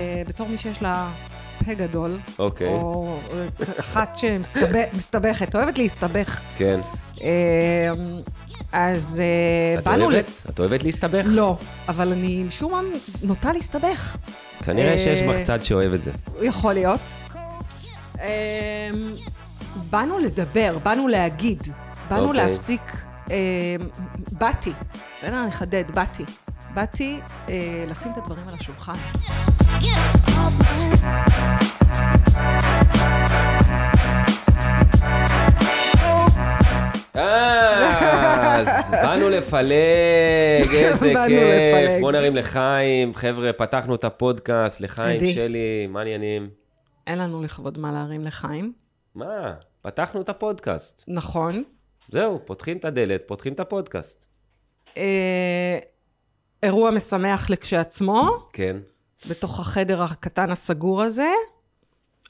אה, בתור מי שיש לה פה גדול, אוקיי. או אה, אחת שמסתבכת, אוהבת להסתבך. כן. אה, אז אה, את באנו... ל- אוהבת? את אוהבת להסתבך? לא, אבל אני משום מה נוטה להסתבך. כנראה שיש אה, בך צד שאוהב את זה. יכול להיות. אמ, באנו לדבר, באנו להגיד, באנו אוקיי. להפסיק. אמ, באתי, בסדר? אני אחדד, באתי. באתי אה, לשים את הדברים על השולחן. אה, אז באנו לפלג, איזה באנו כיף. לפלג. בוא נרים לחיים. חבר'ה, פתחנו את הפודקאסט, לחיים, עדי. שלי, מה העניינים? אין לנו לכבוד מה להרים לחיים, מה? פתחנו את הפודקאסט. נכון. זהו, פותחים את הדלת, פותחים את הפודקאסט. אה, אירוע משמח לכשעצמו, כן, בתוך החדר הקטן הסגור הזה.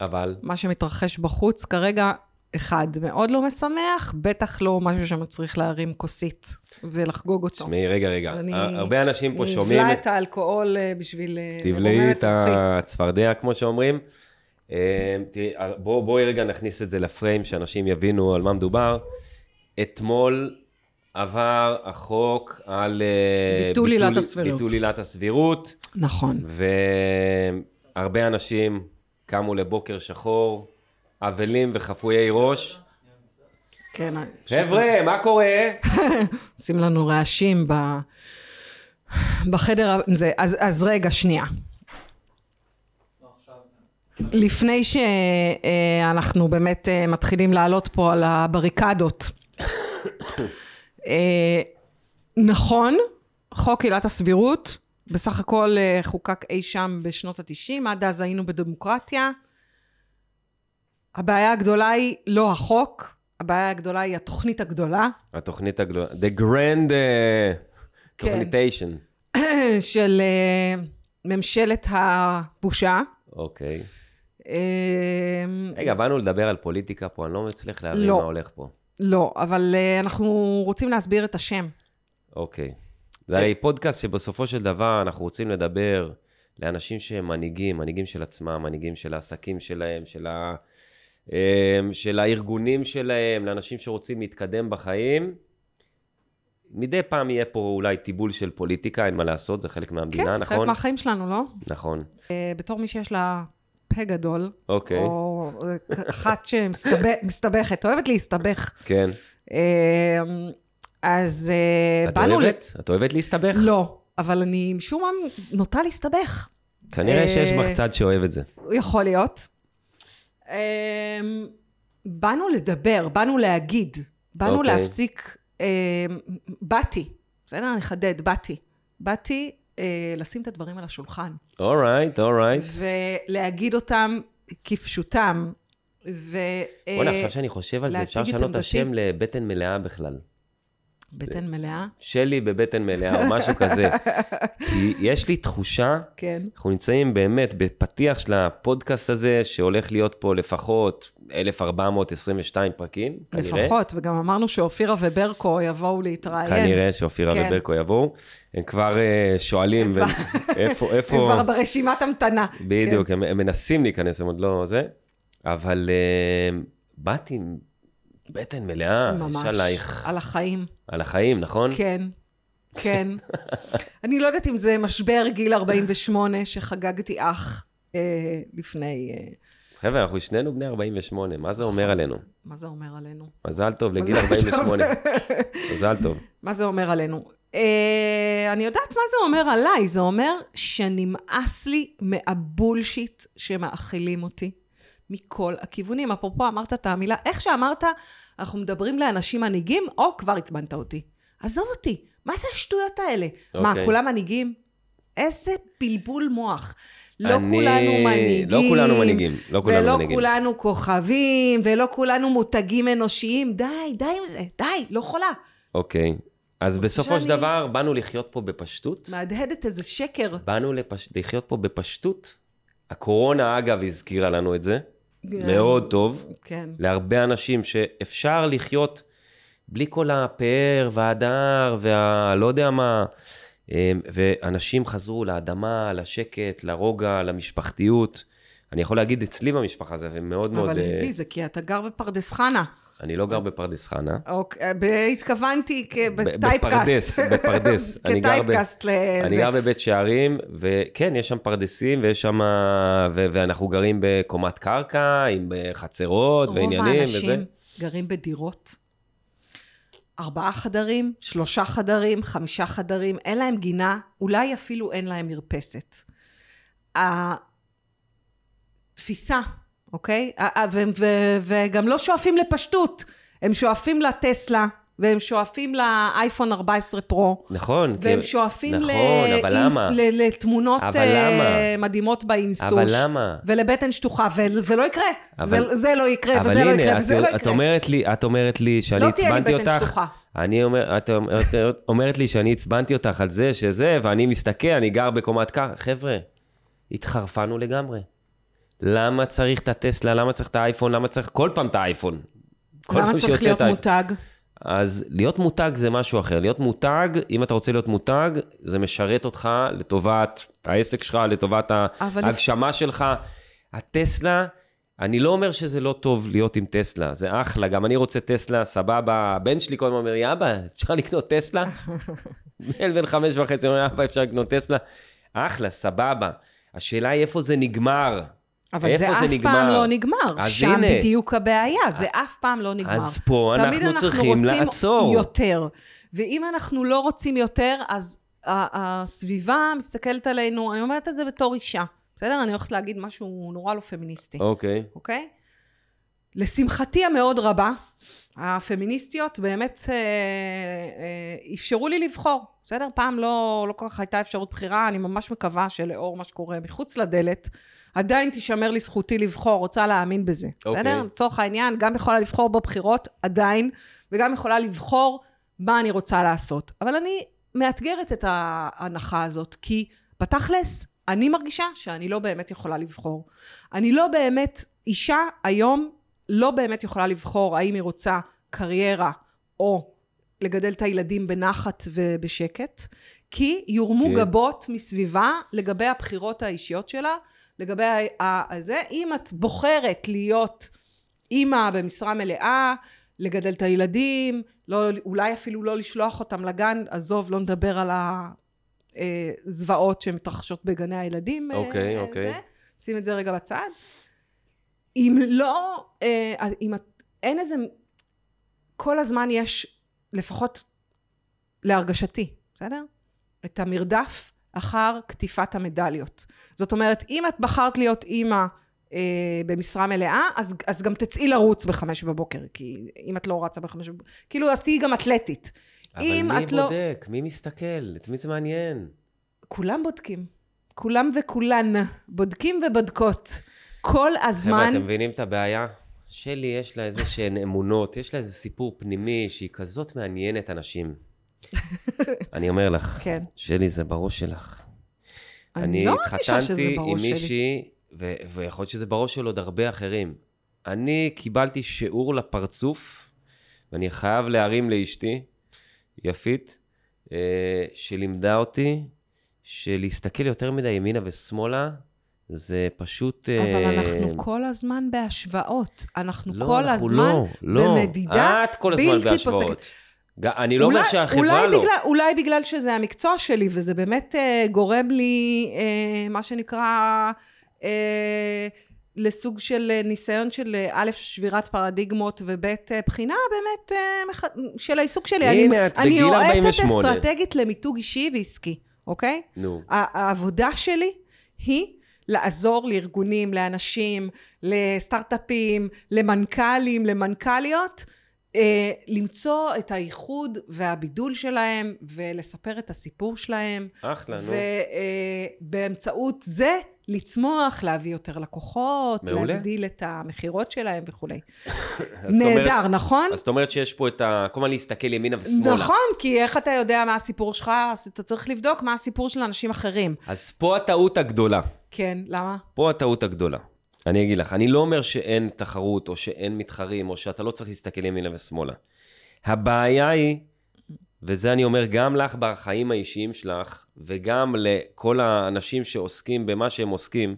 אבל... מה שמתרחש בחוץ כרגע, אחד, מאוד לא משמח, בטח לא משהו שמצריך להרים כוסית ולחגוג אותו. תשמעי, רגע, רגע. אני- הרבה אנשים פה שומעים... נבלע את האלכוהול אה, בשביל... אה, תבלעי לרומם את רוחי. הצפרדע, כמו שאומרים. אה, תראי, בוא- בואי רגע נכניס את זה לפריים, שאנשים יבינו על מה מדובר. אתמול עבר החוק על... אה, ביטול עילת הסבירות. ביטול עילת הסבירות, נכון. והרבה אנשים קמו לבוקר שחור, אבלים וחפויי ראש. כן, אה, חבר'ה, מה קורה? עושים לנו רעשים ב... בחדר ה- זה. אז, אז רגע, שנייה. לפני שאנחנו באמת אה, מתחילים לעלות פה על הבריקדות. אה, נכון, חוק עילת הסבירות, בסך הכל אה, חוקק אי שם בשנות התשעים, עד אז היינו בדמוקרטיה. הבעיה הגדולה היא לא החוק, הבעיה הגדולה היא התוכנית הגדולה. התוכנית הגדולה, The Grand אה, כן. Tognitation. של אה, ממשלת הבושה. אוקיי. אה, רגע, באנו לדבר על פוליטיקה פה, אני לא מצליח להבין מה לא. הולך פה. לא, אבל אה, אנחנו רוצים להסביר את אה, השם. אוקיי. זה אה. הרי פודקאסט שבסופו של דבר אנחנו רוצים לדבר לאנשים שהם מנהיגים, מנהיגים של עצמם, מנהיגים של העסקים שלהם, של, ה... אמ, של הארגונים שלהם, לאנשים שרוצים להתקדם בחיים. מדי פעם יהיה פה אולי טיבול של פוליטיקה, אין מה לעשות, זה חלק מהמדינה, כן, נכון? חלק מהחיים שלנו, לא? נכון. אה, בתור מי שיש לה פה גדול, אוקיי. או אה, אחת שמסתבכת, אוהבת להסתבך. כן. אה, אז אה, את באנו... ל- אוהבת? את אוהבת להסתבך? לא, אבל אני משום מה נוטה להסתבך. כנראה שיש אה, בך צד שאוהב את זה. יכול להיות. אמ, באנו לדבר, באנו להגיד, באנו okay. אוקיי. להפסיק, אמ, באתי, בסדר? אני אחדד, באתי. באתי אה, לשים את הדברים על השולחן, אורייט, אורייט. ולהגיד אותם כפשוטם, ו... אה, בוא'נה, עכשיו שאני חושב על זה, להציג אפשר את לשנות את עמדתי. השם לבטן מלאה בכלל. בטן מלאה, שלי בבטן מלאה, או משהו כזה. כי יש לי תחושה, כן. אנחנו נמצאים באמת בפתיח של הפודקאסט הזה, שהולך להיות פה לפחות 1,422 פרקים, כנראה. לפחות, וגם אמרנו שאופירה וברקו יבואו להתראיין. כנראה שאופירה כן. וברקו יבואו. הם כבר אה, שואלים, ו- איפה, הם איפה... כבר כן. ברשימת המתנה. בדיוק, הם הם מנסים להיכנס, הם עוד לא זה. אבל אה, באתי עם בטן מלאה, כן, ממש. אה, יש עלייך, על החיים. על החיים, נכון? כן, כן. אני לא יודעת אם זה משבר גיל 48 שחגגתי אח אה, לפני... אה, חבר'ה, אנחנו שנינו בני 48, מה זה אומר עלינו? מה זה אומר עלינו? מזל טוב לגיל מזל טוב. 48. מזל טוב. מה זה אומר עלינו? אה, אני יודעת מה זה אומר עליי, זה אומר שנמאס לי מהבולשיט שמאכילים אותי מכל הכיוונים. אפרופו, אמרת את המילה, איך שאמרת, אנחנו מדברים לאנשים מנהיגים, או כבר עצבנת אותי. עזוב אותי, מה זה השטויות האלה? Okay. מה, אוקיי. כולם מנהיגים? איזה בלבול מוח. לא אני- כולנו מנהיגים. לא כולנו מנהיגים, לא כולנו ולא מנהיגים. כולנו כוכבים, ולא כולנו מותגים אנושיים. די, די עם זה, די, לא חולה. אוקיי. אז בסופו שאני- של דבר, באנו לחיות פה בפשטות. מהדהדת איזה שקר. באנו לפש- לחיות פה בפשטות. הקורונה, אגב, הזכירה לנו את זה. כן. מאוד טוב. כן. להרבה אנשים שאפשר לחיות בלי כל הפאר וההדר והלא לא יודע מה. אמ, ואנשים חזרו לאדמה, לשקט, לרוגע, למשפחתיות. אני יכול להגיד אצלי במשפחה זה מאוד מאוד... אבל אה, עידי, זה כי אתה גר בפרדס חנה. אני לא גר בפרדס חנה. אוקיי, ב- התכוונתי כבטייפקאסט. בפרדס, בפרדס. אני גר ב- כטייפקאסט לזה. אני גר בבית שערים, וכן, יש שם פרדסים, ויש שם... ו- ואנחנו גרים בקומת קרקע, עם אה, חצרות ועניינים רוב וזה. האנשים גרים בדירות. ארבעה חדרים, שלושה חדרים, חמישה חדרים, אין להם גינה, אולי אפילו אין להם מרפסת. התפיסה, אוקיי? ה- ה- ו- ו- וגם לא שואפים לפשטות, הם שואפים לטסלה, והם שואפים לאייפון 14 פרו. נכון. והם כי- שואפים נכון, לאינס- אבל למה? ל- לתמונות אבל אה, למה? מדהימות באינסטוש. אבל למה? ולבטן שטוחה, וזה לא יקרה. אבל- זה, זה לא יקרה, וזה לא יקרה, את, וזה לא את יקרה. אומרת לי, את אומרת לי שאני לא תהיה לי עצבנתי בטן אותך. שטוחה. אני אומר, את אומר- את אומרת לי שאני עצבנתי אותך על זה שזה, ואני מסתכל, אני גר בקומת קר. חבר'ה, התחרפנו לגמרי. למה צריך את הטסלה? למה צריך את האייפון? למה צריך כל פעם את האייפון? כל למה פעם צריך שיוצא להיות את האייפון. מותג? אז להיות מותג זה משהו אחר. להיות מותג, אם אתה רוצה להיות מותג, זה משרת אותך לטובת העסק שלך, לטובת אבל- ההגשמה שלך. הטסלה, אני לא אומר שזה לא טוב להיות עם טסלה, זה אחלה, גם אני רוצה טסלה, סבבה. הבן שלי כל הזמן אומר לי, אבא, אפשר לקנות טסלה? בן בן חמש וחצי אומר, אבא, אפשר לקנות טסלה? אחלה, סבבה. השאלה היא איפה זה נגמר. אבל איפה זה זה אף פעם נגמר? לא נגמר. אז שם הנה. בדיוק הבעיה, זה אף פעם לא נגמר. אז פה תמיד אנחנו צריכים לעצור. רוצים יותר. ואם אנחנו לא רוצים יותר, אז ה- הסביבה מסתכלת עלינו, אני אומרת את זה בתור אישה, בסדר? אני הולכת להגיד משהו נורא לא פמיניסטי. אוקיי. אוקיי? לשמחתי המאוד רבה, הפמיניסטיות באמת אה, אה, אפשרו לי לבחור, בסדר? פעם לא, לא כל כך הייתה אפשרות בחירה, אני ממש מקווה שלאור מה שקורה מחוץ לדלת, עדיין תישמר לי זכותי לבחור, רוצה להאמין בזה, אוקיי. בסדר? לצורך העניין, גם יכולה לבחור בבחירות, עדיין, וגם יכולה לבחור מה אני רוצה לעשות. אבל אני מאתגרת את ההנחה הזאת, כי בתכלס, אני מרגישה שאני לא באמת יכולה לבחור. אני לא באמת, אישה היום לא באמת יכולה לבחור האם היא רוצה קריירה או לגדל את הילדים בנחת ובשקט, כי יורמו כן. גבות מסביבה לגבי הבחירות האישיות שלה, לגבי ה- ה- זה, אם את בוחרת להיות אימא במשרה מלאה, לגדל את הילדים, לא, אולי אפילו לא לשלוח אותם לגן, עזוב, לא נדבר על הזוועות שמתרחשות בגני הילדים. אה, אוקיי, אה, אוקיי. זה. שים את זה רגע בצד. אם לא, אה, אם את, אין איזה, כל הזמן יש, לפחות להרגשתי, בסדר? את המרדף אחר קטיפת המדליות. זאת אומרת, אם את בחרת להיות אימא אה, במשרה מלאה, אז, אז גם תצאי לרוץ בחמש בבוקר, כי אם את לא רצה בחמש בבוקר, כאילו, אז תהיי גם אתלטית. אם אבל מי את לא- בודק? מי מסתכל? את מי זה מעניין? כולם בודקים. כולם וכולן בודקים ובודקות. כל חבר'ה, הזמן... אתם מבינים את הבעיה? שלי יש לה איזה שהן אמונות, יש לה איזה סיפור פנימי שהיא כזאת מעניינת אנשים. אני אומר לך, כן. שלי זה בראש שלך. אני לא מרגישה שזה התחתנתי עם בראש שלי. מישהי, ו- ויכול להיות שזה בראש של עוד הרבה אחרים. אני קיבלתי שיעור לפרצוף, ואני חייב להרים לאשתי, יפית, אה, שלימדה אותי שלהסתכל יותר מדי ימינה ושמאלה, זה פשוט... אבל אה, אנחנו כל הזמן בהשוואות. אנחנו לא, כל אנחנו הזמן לא, לא. במדידה את כל הזמן בלתי בהשוואות. פוסקת. ג- אני לא אומר שהחברה אולי לא. בגלל, אולי בגלל שזה המקצוע שלי, וזה באמת אה, גורם לי, אה, מה שנקרא, אה, לסוג של אה, ניסיון של אה, א', שבירת פרדיגמות, וב', אה, בחינה באמת אה, מח... של העיסוק שלי. הנה, אני, את אני בגיל יועצת 48. אסטרטגית למיתוג אישי ועסקי, אוקיי? נו. ה- העבודה שלי היא לעזור לארגונים, לאנשים, לסטארט-אפים, למנכ"לים, למנכ"ליות, אה, למצוא את הייחוד והבידול שלהם ולספר את הסיפור שלהם. אחלה, נו. ובאמצעות זה לצמוח, להביא יותר לקוחות, מעולה. להגדיל את המכירות שלהם וכולי. אז זאת אומרת- נהדר, נכון? אז זאת אומרת שיש פה את ה... כל הזמן להסתכל ימינה ושמאלה. נכון, כי איך אתה יודע מה הסיפור שלך, אז אתה צריך לבדוק מה הסיפור של אנשים אחרים. אז פה הטעות הגדולה. כן, למה? פה הטעות הגדולה. אני אגיד לך, אני לא אומר שאין תחרות, או שאין מתחרים, או שאתה לא צריך להסתכל ימינה ושמאלה. הבעיה היא וזה אני אומר גם לך בחיים האישיים שלך, וגם לכל האנשים שעוסקים במה שהם עוסקים,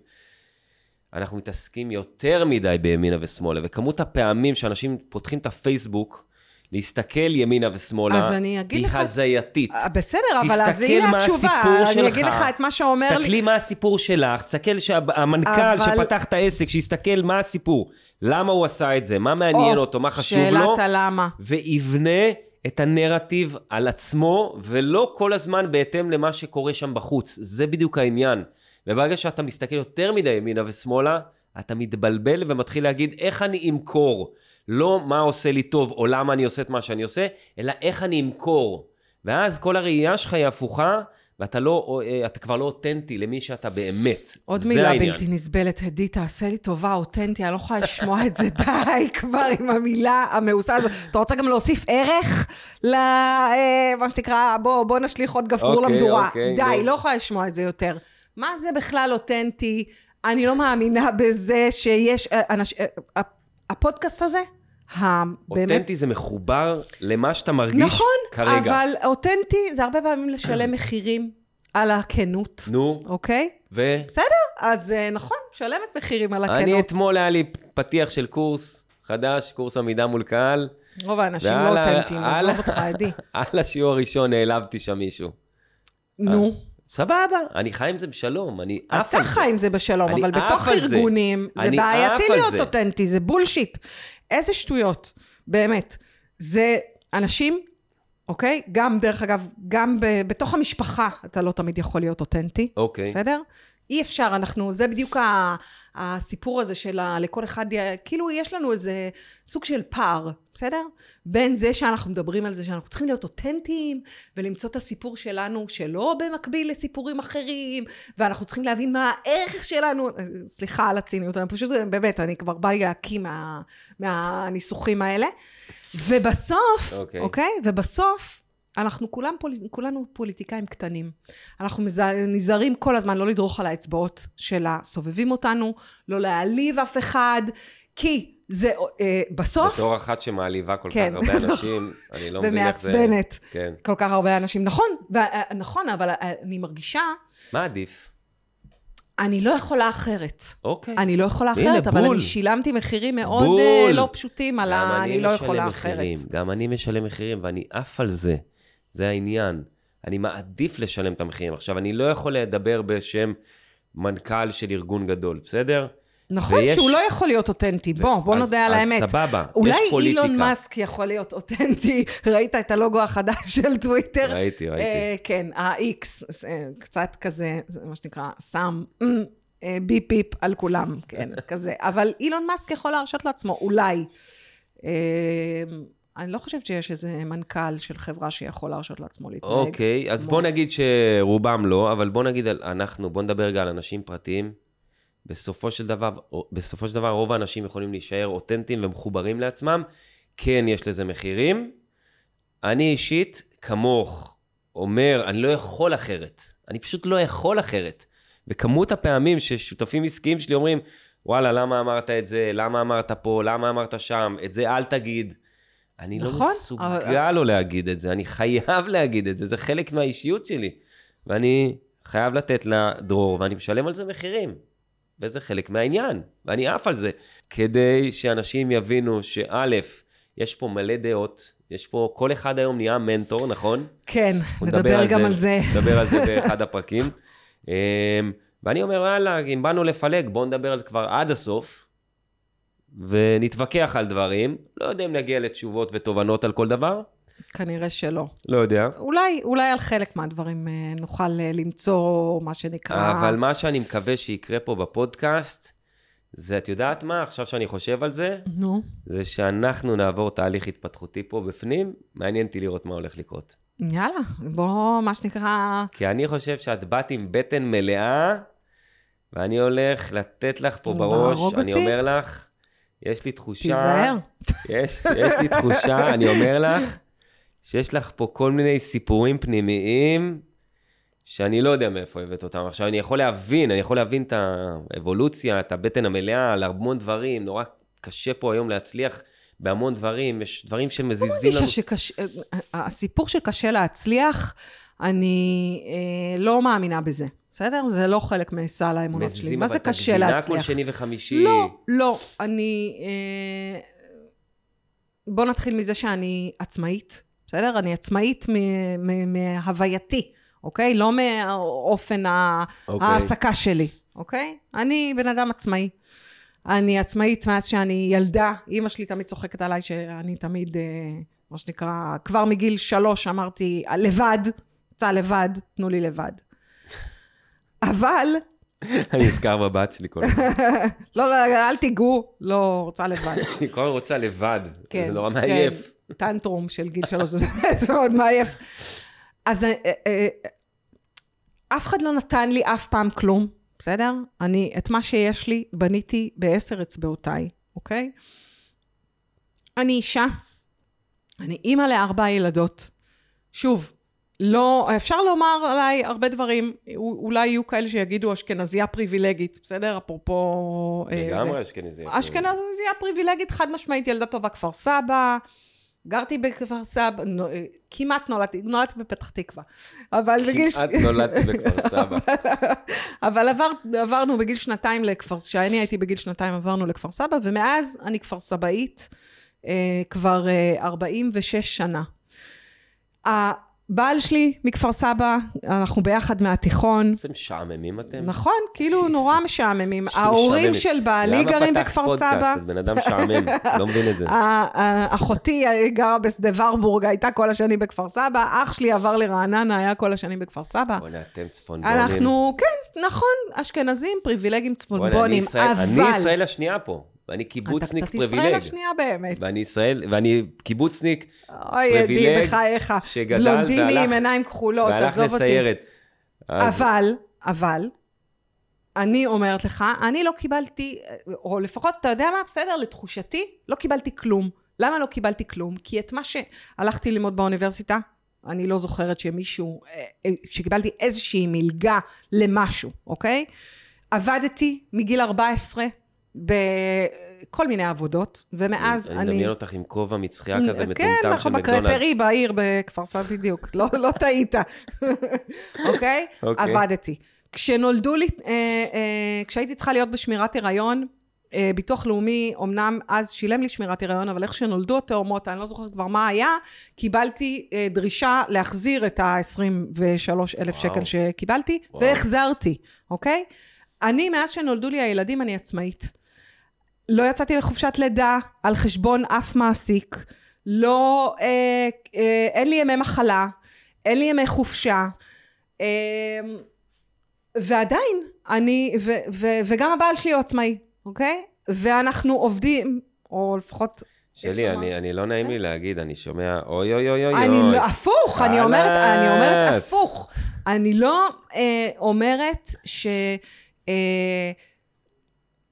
אנחנו מתעסקים יותר מדי בימינה ושמאלה, וכמות הפעמים שאנשים פותחים את הפייסבוק, להסתכל ימינה ושמאלה, אז אני אגיד היא לך- חזייתית. אה, בסדר, אבל אז תסתכל הנה מה התשובה. הסיפור אני שלך. אגיד לך את מה שאומר לי. תסתכלי מה הסיפור שלך, תסתכל שהמנכ"ל אבל- שפתח את העסק, שיסתכל מה הסיפור, למה הוא עשה את זה, מה מעניין או, אותו, מה חשוב לו, שאלת הלמה. ויבנה את הנרטיב על עצמו, ולא כל הזמן בהתאם למה שקורה שם בחוץ. זה בדיוק העניין. וברגע שאתה מסתכל יותר מדי ימינה ושמאלה, אתה מתבלבל ומתחיל להגיד איך אני אמכור. לא מה עושה לי טוב או למה אני עושה את מה שאני עושה, אלא איך אני אמכור. ואז כל הראייה שלך היא הפוכה, ואתה לא, אתה כבר לא אותנטי למי שאתה באמת. עוד זה מילה העניין. בלתי נסבלת, הדי, תעשה לי טובה, אותנטי, אני לא יכולה לשמוע את זה, די כבר עם המילה המאוסה הזאת. אתה רוצה גם להוסיף ערך ל... אה, מה שנקרא, בוא, בוא נשליך עוד גפרור אוקיי, למדורה. אוקיי, די, נו. לא יכולה לשמוע את זה יותר. מה זה בכלל אותנטי? אני לא מאמינה בזה שיש... אה, אנש... אה, אה, הפודקאסט הזה, ה- באמת אותנטי זה מחובר למה שאתה מרגיש נכון, כרגע. אבל אותנטי זה הרבה פעמים לשלם מחירים על הכנות, נו, אוקיי? ו... בסדר, אז אה, נכון, משלמת מחירים על הכנות. אני אתמול היה לי פתיח של קורס חדש, קורס עמידה מול קהל. רוב האנשים לא ועל ה- אותנטיים, על ה- עזוב אותך, עדי. על השיעור הראשון העלבתי שם מישהו. נו, סבבה, אני חי עם זה בשלום, אני עף אתה אה, על זה. חי עם זה בשלום, אני אבל עף בתוך על זה. ארגונים זה אני בעייתי עף על להיות זה. אותנטי, זה בולשיט. איזה שטויות, באמת. זה אנשים, אוקיי? גם, דרך אגב, גם ב- בתוך המשפחה אתה לא תמיד יכול להיות אותנטי. אוקיי. בסדר? אי אפשר, אנחנו, זה בדיוק ה, הסיפור הזה של ה, לכל אחד, יה- כאילו יש לנו איזה סוג של פער, בסדר? בין זה שאנחנו מדברים על זה שאנחנו צריכים להיות אותנטיים ולמצוא את הסיפור שלנו שלא במקביל לסיפורים אחרים, ואנחנו צריכים להבין מה הערך שלנו, אה, סליחה על הציניות, אני פשוט, אה, באמת, אני כבר בא לי להקיא מה, מהניסוחים האלה. ובסוף, אוקיי. אוקיי? אוקיי? ובסוף, אנחנו כולם פול, כולנו פוליטיקאים קטנים. אנחנו מזה- נזהרים כל הזמן לא לדרוך על האצבעות של הסובבים אותנו, לא להעליב אף אחד, כי זה אה, בסוף... בתור אחת שמעליבה כל כן. כך הרבה אנשים, אני לא מבין איך זה... ומעצבנת. כן. כל כך הרבה אנשים, נכון, ו- נכון, אבל אה, אני מרגישה, מה עדיף? אני לא יכולה אחרת. אוקיי. אני לא יכולה הנה, אחרת, אבל בול. אני שילמתי מחירים מאוד אה, בול. לא פשוטים על גם ה... אני לא משלם יכולה מחירים, אחרת. גם אני משלם מחירים, ואני עף על זה. זה העניין. אני מעדיף לשלם את המחירים. עכשיו, אני לא יכול לדבר בשם מנכ"ל של ארגון גדול, בסדר? נכון, ויש- שהוא לא יכול להיות אותנטי. בוא, בוא אז- נודה על האמת. אז סבבה, אולי יש פוליטיקה. אילון מאסק יכול להיות אותנטי, ראית את הלוגו החדש של טוויטר? ראיתי, ראיתי. אה, כן, ה-X, אה, קצת כזה, זה מה שנקרא, שם אמ, אה, ביפ ביפ על כולם, כן, כזה. אבל אילון מאסק יכול להרשות לעצמו, אולי. אה, אני לא חושבת שיש איזה מנכ"ל של חברה שיכול להרשות לעצמו להתנהג. אוקיי, אז בוא נגיד שרובם לא, אבל בוא נגיד על אנחנו, בוא נדבר רגע על אנשים פרטיים. בסופו של דבר, בסופו של דבר רוב האנשים יכולים להישאר אותנטיים ומחוברים לעצמם. כן, יש לזה מחירים. אני אישית, כמוך, אומר, אני לא יכול אחרת. אני פשוט לא יכול אחרת. וכמות הפעמים ששותפים עסקיים שלי אומרים, וואלה, למה אמרת את זה? למה אמרת פה? למה אמרת שם? את זה אל תגיד. אני נכון, נכון, לא אבל- מסוגל לא להגיד את זה, אני חייב להגיד את זה, זה חלק מהאישיות שלי. ואני חייב לתת לה דרור, ואני משלם על זה מחירים. וזה חלק מהעניין, ואני עף על זה. כדי שאנשים יבינו שא', יש פה מלא דעות, יש פה, כל אחד היום נהיה מנטור, נכון? כן, אנחנו נדבר גם על זה. נדבר על זה באחד הפרקים. אמ, ואני אומר, יאללה, אם באנו לפלג, בואו נדבר על זה כבר עד הסוף, ונתווכח על דברים. לא יודע אם נגיע לתשובות ותובנות על כל דבר, כנראה שלא. לא יודע. אולי, אולי על חלק מהדברים אה, נוכל אה, למצוא מה שנקרא... אבל מה שאני מקווה שיקרה פה בפודקאסט, זה, את יודעת מה, עכשיו שאני חושב על זה, נו. זה שאנחנו נעבור תהליך התפתחותי פה בפנים, מעניין אותי לראות מה הולך לקרות. יאללה, בוא, מה שנקרא... כי אני חושב שאת באת עם בטן מלאה, ואני הולך לתת לך פה נו, בראש, להרוג אני אותי? אומר לך, יש לי תחושה... תיזהר. יש, יש לי תחושה, אני אומר לך, שיש לך פה כל מיני סיפורים פנימיים, שאני לא יודע מאיפה הבאת אותם. עכשיו, אני יכול להבין, אני יכול להבין את האבולוציה, את הבטן המלאה, על המון דברים. נורא קשה פה היום להצליח בהמון דברים, יש דברים לא שמזיזים מרגישה לנו. שקשה... הסיפור שקשה להצליח, אני אה, לא מאמינה בזה. בסדר? זה לא חלק מסל האמונות שלי. מזיזים, מה זה אבל את קשה הגבינה להצליח? כל שני וחמישי. לא, לא. אני... אה, בוא נתחיל מזה שאני עצמאית, בסדר? אני עצמאית מ- מ- מהווייתי, אוקיי? לא מאופן ה... אוקיי. ההעסקה שלי, אוקיי? אני בן אדם עצמאי. אני עצמאית מאז שאני ילדה. אימא שלי תמיד צוחקת עליי שאני תמיד, אה, מה שנקרא, כבר מגיל שלוש אמרתי, לבד, אתה לבד, תנו לי לבד. אבל, אני נזכר בבת שלי כל הזמן. לא, לא, אל תיגעו, לא רוצה לבד. היא כל הזמן רוצה לבד. כן. זה נורא כן. מעייף. טנטרום של גיל שלוש, זה באמת מאוד מעייף. אז אה, אה, אה, אף אחד לא נתן לי אף פעם כלום, בסדר? אני, את מה שיש לי, בניתי בעשר אצבעותיי, אוקיי? אני אישה, אני אימא לארבע ילדות. שוב, לא, אפשר לומר עליי הרבה דברים, א- אולי יהיו כאלה שיגידו אשכנזייה פריבילגית, בסדר? אפרופו... אה, זה. לגמרי אשכנזי. אשכנזיה פריבילגית חד משמעית, ילדה טובה כפר סבא, גרתי בכפר סבא, נו- אה, כמעט נולדתי, נולדתי בפתח תקווה. אבל בגיל... ש- כמעט נולדתי בכפר סבא. אבל עבר, עברנו בגיל שנתיים לכפר, כשאני הייתי בגיל שנתיים עברנו לכפר סבא, ומאז אני כפר סבאית אה, כבר אה, 46 שנה. הבעל שלי מכפר סבא, אנחנו ביחד מהתיכון. איזה משעממים אתם. נכון, כאילו שיזה. נורא משעממים. משעממת. ההורים של בעלי למה גרים פתחת בכפר פודקאסט? סבא. אה, את בן אדם משעמם, לא מבין את זה. ה- ה- אחותי גרה בשדה ורבורג, הייתה כל השנים בכפר סבא, אח שלי עבר לרעננה, היה כל השנים בכפר סבא. בוא'נה, אתם צפונבונים. אנחנו, כן, נכון, אשכנזים, פריבילגים בוא'נה, אני צפונבונים, ישראל- אני אבל... ישראל השנייה פה. ואני קיבוצניק אתה קצת ישראל פריבילג. השנייה באמת. ואני ישראל, ואני קיבוצניק, אוי, עדי, פריבילג בחייך. שגדל בלונדיני והלך- עם עיניים כחולות, והלך עזוב לא, אותי. לסיירת. אז אבל, אבל, אני אומרת לך, אני לא קיבלתי, או לפחות, אתה יודע מה, בסדר, לתחושתי, לא קיבלתי כלום. למה לא קיבלתי כלום? כי את מה שהלכתי ללמוד באוניברסיטה, אני לא זוכרת שמישהו, אה, אה, שקיבלתי איזושהי מלגה למשהו, אוקיי? עבדתי מגיל 14 בכל מיני עבודות, ומאז אני מדמיין אותך עם כובע מצחייה כזה כן, מטומטם של אנחנו מקדונלדס. בקרפרי בעיר בכפר סבא בדיוק, לא, לא טעית, אוקיי? אוקיי. עבדתי. כשנולדו לי, אה, אה, כשהייתי צריכה להיות בשמירת הריון, אה, ביטוח לאומי אמנם אז שילם לי שמירת הריון, אבל איך שנולדו התאומות, אני לא זוכרת כבר מה היה, קיבלתי אה, דרישה להחזיר את ה-23,000 שקל וואו. שקיבלתי, וואו. והחזרתי, אוקיי? אני, מאז שנולדו לי הילדים, אני עצמאית. לא יצאתי לחופשת לידה על חשבון אף מעסיק, לא, אה, אה, אין לי ימי מחלה, אין לי ימי חופשה, אה, ועדיין, אני, ו, ו, וגם הבעל שלי הוא עצמאי, אוקיי? ואנחנו עובדים, או לפחות, שלי, איך אני- אמרת? אני לא נעים לי להגיד, אני שומע אוי אוי אוי אוי אוי. אני לא, הפוך, אני אומרת, אני אומרת חלאס. הפוך. אני לא אה, אומרת ש... אה,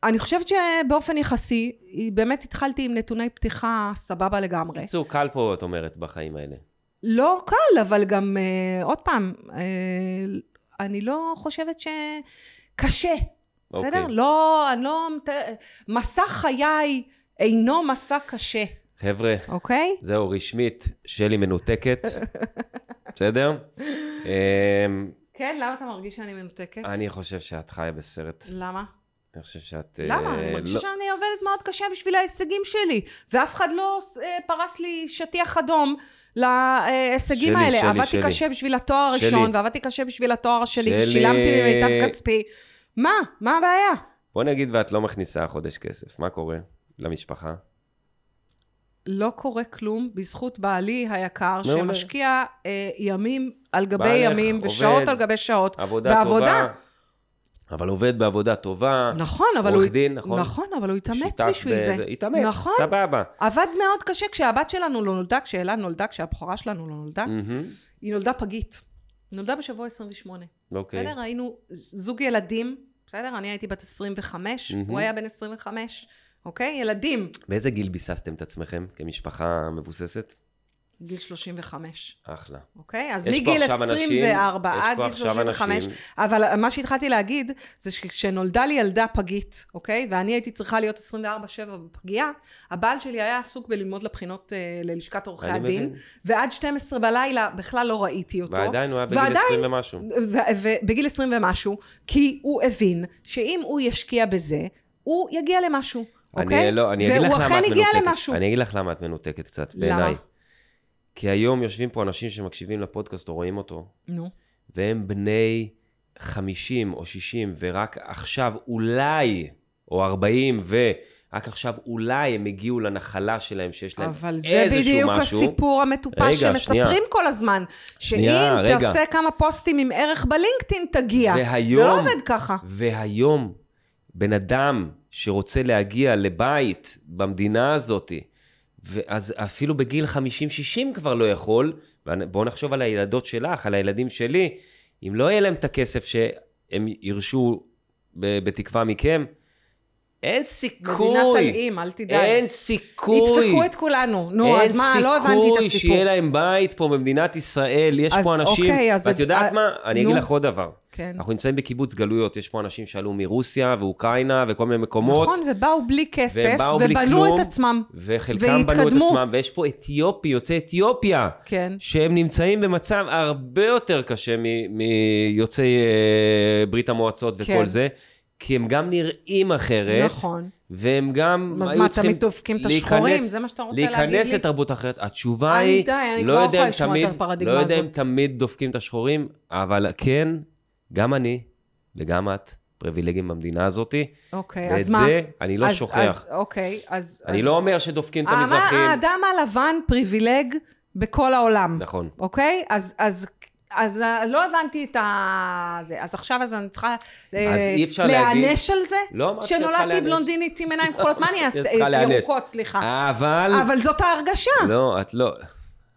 אני חושבת שבאופן יחסי, באמת התחלתי עם נתוני פתיחה סבבה לגמרי. בקיצור, קל פה, את אומרת, בחיים האלה. לא קל, אבל גם, אה, עוד פעם, אה, אני לא חושבת שקשה, בסדר? אוקיי. לא, אני לא... מת- מסע חיי אינו מסע קשה, חבר'ה, אוקיי? זהו, רשמית, שלי מנותקת, בסדר? אמ, כן, למה אתה מרגיש שאני מנותקת? אני חושב שאת חיה בסרט. למה? אני חושב שאת... אה, למה? אני מרגישה לא- שאני עובדת מאוד קשה בשביל ההישגים שלי, ואף אחד לא אה, פרס לי שטיח אדום להישגים שלי, האלה. שלי, עבדתי שלי. קשה בשביל התואר שלי. הראשון, ועבדתי קשה בשביל התואר השני, שלי. ושילמתי ממיטב כספי. מה? מה הבעיה? בוא נגיד ואת לא מכניסה החודש כסף, מה קורה למשפחה? לא קורה כלום בזכות בעלי היקר, מעולה. שמשקיע אה, ימים על גבי בעלך ימים, עובד. ושעות על גבי שעות. עבודה בעבודה. טובה. אבל עובד בעבודה טובה. נכון, אבל הוא... עורך דין, נכון? נכון, אבל הוא התאמץ שותף בשביל זה. בזה. התאמץ, נכון. סבבה. עבד מאוד קשה כשהבת שלנו לא נולדה, כשאלה נולדה, כשהבכורה שלנו לא נולדה. מהמם. היא נולדה פגית. היא נולדה בשבוע 28. אוקיי. בסדר? היינו זוג ילדים, בסדר? אני הייתי בת 25, מהמם. הוא היה בן 25, אוקיי? ילדים. באיזה גיל ביססתם את עצמכם כמשפחה מבוססת? גיל 35, אחלה. אוקיי? אז יש פה מגיל עכשיו אנשים- 24 יש עד פה גיל עכשיו 35. אנשים- אבל מה שהתחלתי להגיד, זה שכשנולדה לי ילדה פגית, אוקיי? ואני הייתי צריכה להיות 24-7 בפגייה, הבעל שלי היה עסוק בללמוד לבחינות אה, ללשכת עורכי אני הדין, מבין. ועד 12 בלילה בכלל לא ראיתי אותו. ועדיין הוא היה בגיל ועדיין- 20 ומשהו. ובגיל 20 ומשהו, כי הוא הבין שאם הוא ישקיע בזה, הוא יגיע למשהו, אוקיי? אני לא, אני אגיד לך והוא למה אכן את הגיע מנותקת. למשהו. אני אגיד לך למה את מנותקת קצת, למה? בעיניי. כי היום יושבים פה אנשים שמקשיבים לפודקאסט או רואים אותו, נו, והם בני 50 או 60, ורק עכשיו אולי, או 40, ורק עכשיו אולי הם הגיעו לנחלה שלהם, שיש להם אבל זה כן. איזשהו בדיוק משהו. הסיפור המטופש רגע, שמספרים שנייה. כל הזמן. שאם שנייה, רגע. תעשה כמה פוסטים עם ערך בלינקדאין, תגיע. זה והיום- לא עובד ככה. והיום, בן אדם שרוצה להגיע לבית במדינה הזאת, ואז אפילו בגיל 50-60 כבר לא יכול, ובואו נחשוב על הילדות שלך, על הילדים שלי, אם לא יהיה להם את הכסף שהם ירשו ב- בתקווה מכם, אין מדינת סיכוי, תלאים, אל תדאג. אין סיכוי, ידפקו את כולנו. נו, אז מה, לא הבנתי את הסיפור. אין סיכוי שיהיה להם בית פה במדינת ישראל, יש אז פה אנשים, אוקיי, אז ואת את- יודעת מה? אני אגיד נו. לך עוד דבר. כן. אנחנו נמצאים בקיבוץ גלויות, יש פה אנשים שעלו מרוסיה ואוקראינה וכל מיני מקומות. נכון, ובאו בלי כסף, והם באו בלי ובנו כלום, את עצמם. וחלקם בנו את והתקדמו. עצמם, ויש פה אתיופי, יוצאי אתיופיה, כן. שהם נמצאים במצב הרבה יותר קשה מ- מיוצאי אה, ברית המועצות וכל כן. זה, כי הם גם נראים אחרת, נכון. והם גם אז היו מה, צריכים תמיד דופקים את להיכנס- השחורים? זה מה שאתה רוצה להגיד להיכנס לי? לתרבות אחרת. התשובה אני היא, די, אני לא כבר יודע יכולה אם לשמוע את תמיד- הפרדיגמה לא יודע אם הזאת. תמיד דופקים את השחורים, אבל כן, גם אני וגם את פריבילגים במדינה הזאתי. אוקיי, ואת אז מה? זה אני לא אז- שוכח. אז אוקיי, אז... אני אז- אה, לא אומר שדופקים את האמה- המזרחים. האדם הלבן פריבילג בכל העולם. נכון. אוקיי? אז... אז... אז אה, לא הבנתי את ה... זה. אז עכשיו אז אני צריכה אה, אז אי אפשר להיענש על זה? לא אמרתי שאת צריכה שנולדתי להיענש. בלונדינית עם עיניים כחולות, מה אני את אעשה? אה, צריכה להיענש. ירוקות, סליחה. אבל... אבל זאת ההרגשה. לא, את לא...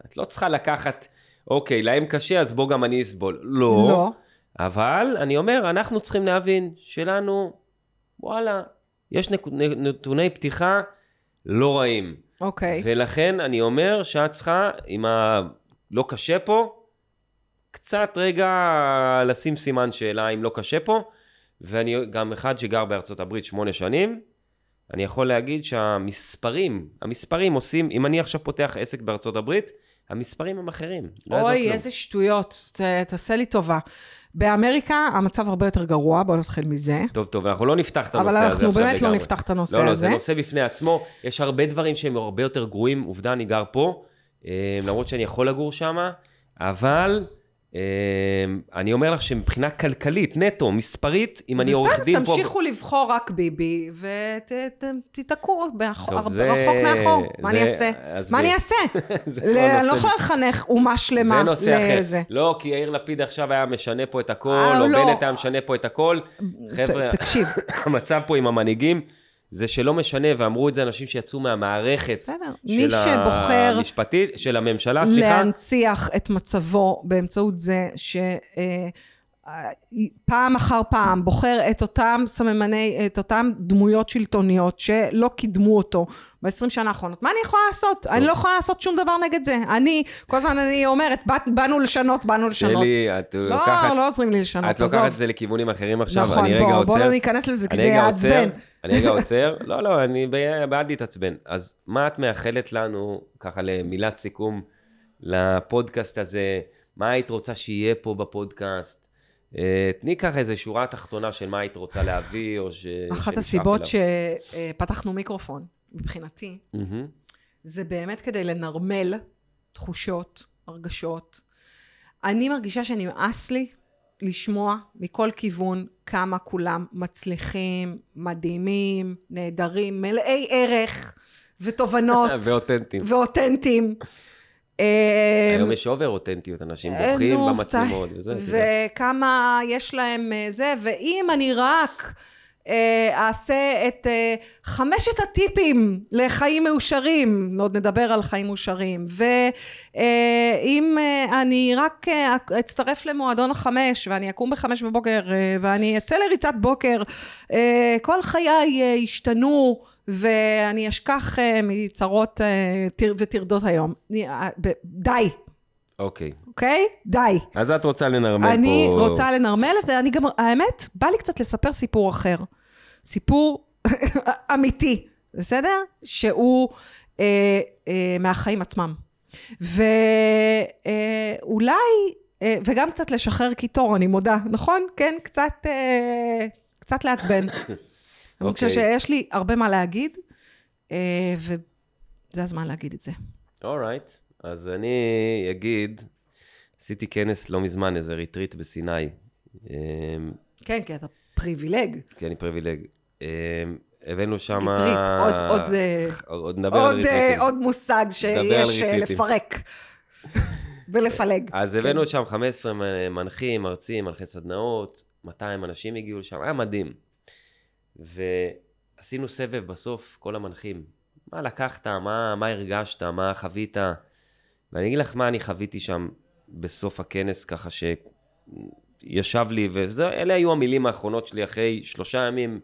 את לא צריכה לקחת, אוקיי, להם קשה, אז בוא גם אני אסבול. לא. לא. אבל אני אומר, אנחנו צריכים להבין שלנו, וואלה, יש נק... נ- נתוני פתיחה לא רעים. אוקיי. ולכן אני אומר שאת צריכה, עם ה... לא קשה פה, קצת רגע לשים סימן שאלה אם לא קשה פה. ואני גם אחד שגר בארצות הברית שמונה שנים, אני יכול להגיד שהמספרים, המספרים עושים, אם אני עכשיו פותח עסק בארצות הברית, המספרים הם אחרים. לא יעזור אוי, כלום. איזה שטויות. ת, תעשה לי טובה. באמריקה המצב הרבה יותר גרוע, בואו נתחיל מזה. טוב, טוב, אנחנו לא נפתח את הנושא אבל הזה עכשיו אנחנו לגמרי. באמת לא נפתח את הנושא לא, לא, הזה. זה נושא בפני עצמו. יש הרבה דברים שהם הרבה יותר גרועים. עובדה, אני גר פה, אה, למרות שאני יכול לגור שם, אבל אה, אני אומר לך שמבחינה כלכלית, נטו, מספרית, אם אני עורך דין פה... בסדר, תמשיכו לבחור רק ביבי, ותיתקעו טוב, רחוק זה- מאחור. מה זה- אני אעשה? עזבי. מה אני אעשה? זה ל- לא אני לא נושא- יכולה לחנך אומה שלמה זה נושא לזה. אחר. לא, כי יאיר לפיד עכשיו היה משנה פה את הכל, אה, או לא. בנט היה משנה פה את הכל. חבר'ה, אה, ת- תקשיב, המצב פה עם המנהיגים, זה שלא משנה, ואמרו את זה אנשים שיצאו מהמערכת בסדר. מי של שבוחר המשפטית, של הממשלה, אה, סליחה. להנציח את מצבו באמצעות זה ש... אה, אה, פעם אחר פעם בוחר את אותם סממני, את אותם דמויות שלטוניות שלא קידמו אותו ב-20 שנה האחרונות. מה אני יכולה לעשות? אני לא יכולה לעשות שום דבר נגד זה. אני, כל הזמן אני אומרת, "באת- באנו לשנות, באנו לשנות. שלי, את לא, לוקחת... לא עוזרים לי לשנות, את לוקחת את עזוב. זה לכיוונים אחרים עכשיו, נכון, אני רגע בוא, עוצר. בוא לא ניכנס לזה, כי אני זה רגע עוצר, יעצבן. אני רגע עוצר, לא, לא, אני ב- בעד להתעצבן. אז מה את מאחלת לנו, ככה למילת סיכום, לפודקאסט הזה? מה היית רוצה שיהיה פה בפודקאסט? אה, תני ככה איזו שורה תחתונה של מה היית רוצה להביא, או ש... שנשאף אחת הסיבות אליו. שפתחנו מיקרופון, מבחינתי, מהמם. זה באמת כדי לנרמל תחושות, הרגשות. אני מרגישה שנמאס לי לשמוע מכל כיוון כמה כולם מצליחים, מדהימים, נהדרים, מלאי ערך ותובנות ואותנטיים. ואותנטיים. אה, היום יש אובר אותנטיות, אנשים אה, בוכים כאילו. נו, במצלמות, וזה... את יודעת. וכמה יש להם אה, זה, ואם אני רק... אה, אה, אעשה את אה, חמשת הטיפים לחיים מאושרים, עוד נדבר על חיים מאושרים, ואם אה, אני רק אה, אצטרף למועדון החמש, ואני אקום בחמש בבוקר, אה, ואני אצא לריצת בוקר, אה, כל חיי אה, ישתנו. ואני אשכח אה, מצרות אה, טר- וטרדות היום. אני, אה, ב- די, אוקיי. אוקיי? די. אז את רוצה לנרמל פה... אני רוצה לנרמל את זה, אני גם, האמת, בא לי קצת לספר סיפור אחר. סיפור אמיתי, בסדר? שהוא אה, אה, מהחיים עצמם. ואולי, אה, אולי, אה, וגם קצת לשחרר קיטור, אני מודה, נכון? כן, קצת, אה, קצת לעצבן. אני חושבת אוקיי. שיש לי הרבה מה להגיד, אה, וזה הזמן להגיד את זה. אורייט, אז אני אגיד, עשיתי כנס לא מזמן, איזה ריטריט בסיני, אמ, כן, כי אתה פריבילג. כי אני פריבילג. אמ, הבאנו שם... ריטריט, עוד- עוד, אה, עוד נדבר על עוד, אה, ריטריטים. עוד מושג נדבר על שיש אה, ריטריטים. לפרק ולפלג. אז הבאנו שם 15 מ- מנחים, מרצים, מנחי סדנאות, 200 אנשים הגיעו לשם, היה מדהים. ועשינו סבב בסוף, כל המנחים. מה לקחת, מה, מה הרגשת, מה חווית. ואני אגיד לך מה אני חוויתי שם בסוף הכנס, ככה שישב לי, ואלה היו המילים האחרונות שלי אחרי שלושה ימים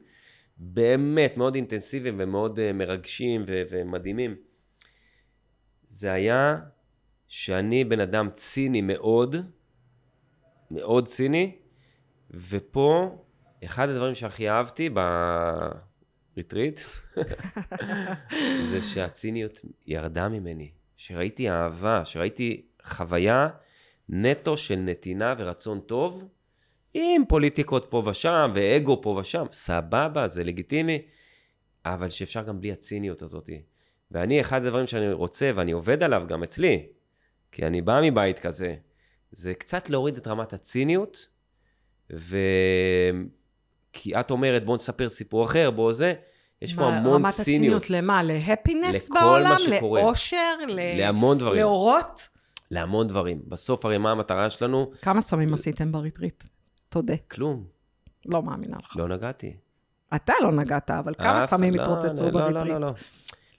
באמת מאוד אינטנסיביים ומאוד אה, מרגשים ו- ומדהימים. זה היה שאני בן אדם ציני מאוד, מאוד ציני, ופה אחד הדברים שהכי אהבתי בריטריט, זה שהציניות ירדה ממני, שראיתי אהבה, שראיתי חוויה נטו של נתינה ורצון טוב, עם פוליטיקות פה ושם, ואגו פה ושם, סבבה, זה לגיטימי, אבל שאפשר גם בלי הציניות הזאת. ואני, אחד הדברים שאני רוצה, ואני עובד עליו גם אצלי, כי אני בא מבית כזה, זה קצת להוריד את רמת הציניות, ו... כי את אומרת, בוא נספר סיפור אחר, בוא זה, יש פה מה, המון רמת ציניות. הציניות למה? להפינס לכל בעולם? מה שקורה. לאושר? ל- להמון דברים. לאורות? להמון דברים. בסוף הרי מה המטרה שלנו? כמה סמים עשיתם בריטריט? תודה. כלום, לא מאמינה לך. לא נגעתי. אתה לא נגעת, אבל כמה אף- סמים לא, התרוצצו לא, לא, בריטריט? לא, לא, לא.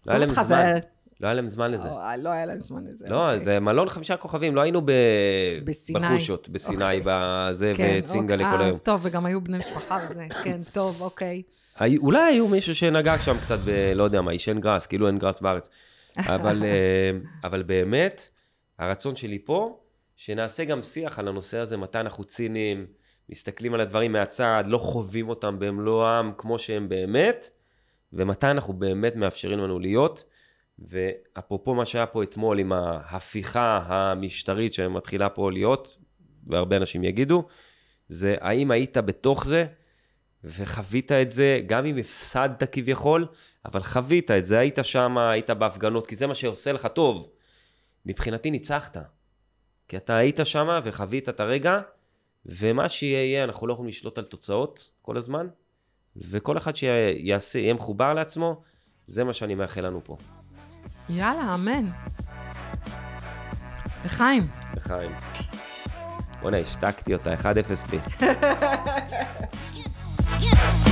לא היה עזוב להם אותך, זה זמן. היה- לא היה להם זמן לזה. אה, לא היה להם זמן לזה. לא, אוקיי. זה מלון חמישה כוכבים, לא היינו ב... בסיני. בחושות, בסיני, אוקיי. בזה, כן, וצינגה אוקיי. לכל אה, היום. טוב, וגם היו בני משפחה וזה, כן, טוב, אוקיי. היו- אולי היו מישהו שנגע שם קצת ב... לא יודע מה, עישן גראס, כאילו אין גראס בארץ. אבל, אה, אבל באמת, הרצון שלי פה, שנעשה גם שיח על הנושא הזה, מתי אנחנו ציניים, מסתכלים על הדברים מהצד, לא חווים אותם במלואם כמו שהם באמת, ומתי אנחנו באמת מאפשרים לנו להיות. ואפרופו מה שהיה פה אתמול עם ההפיכה המשטרית שמתחילה פה להיות, והרבה אנשים יגידו, זה האם היית בתוך זה וחווית את זה, גם אם הפסדת כביכול, אבל חווית את זה, היית שם, היית בהפגנות, כי זה מה שעושה לך טוב. מבחינתי ניצחת. כי אתה היית שם וחווית את הרגע, ומה שיהיה יהיה, אנחנו לא יכולים לשלוט על תוצאות כל הזמן, וכל אחד שיעשה, יהיה מחובר לעצמו, זה מה שאני מאחל לנו פה. יאללה, אמן. לחיים. לחיים. בואנה, השתקתי אותה, 1-0 לי. Yeah.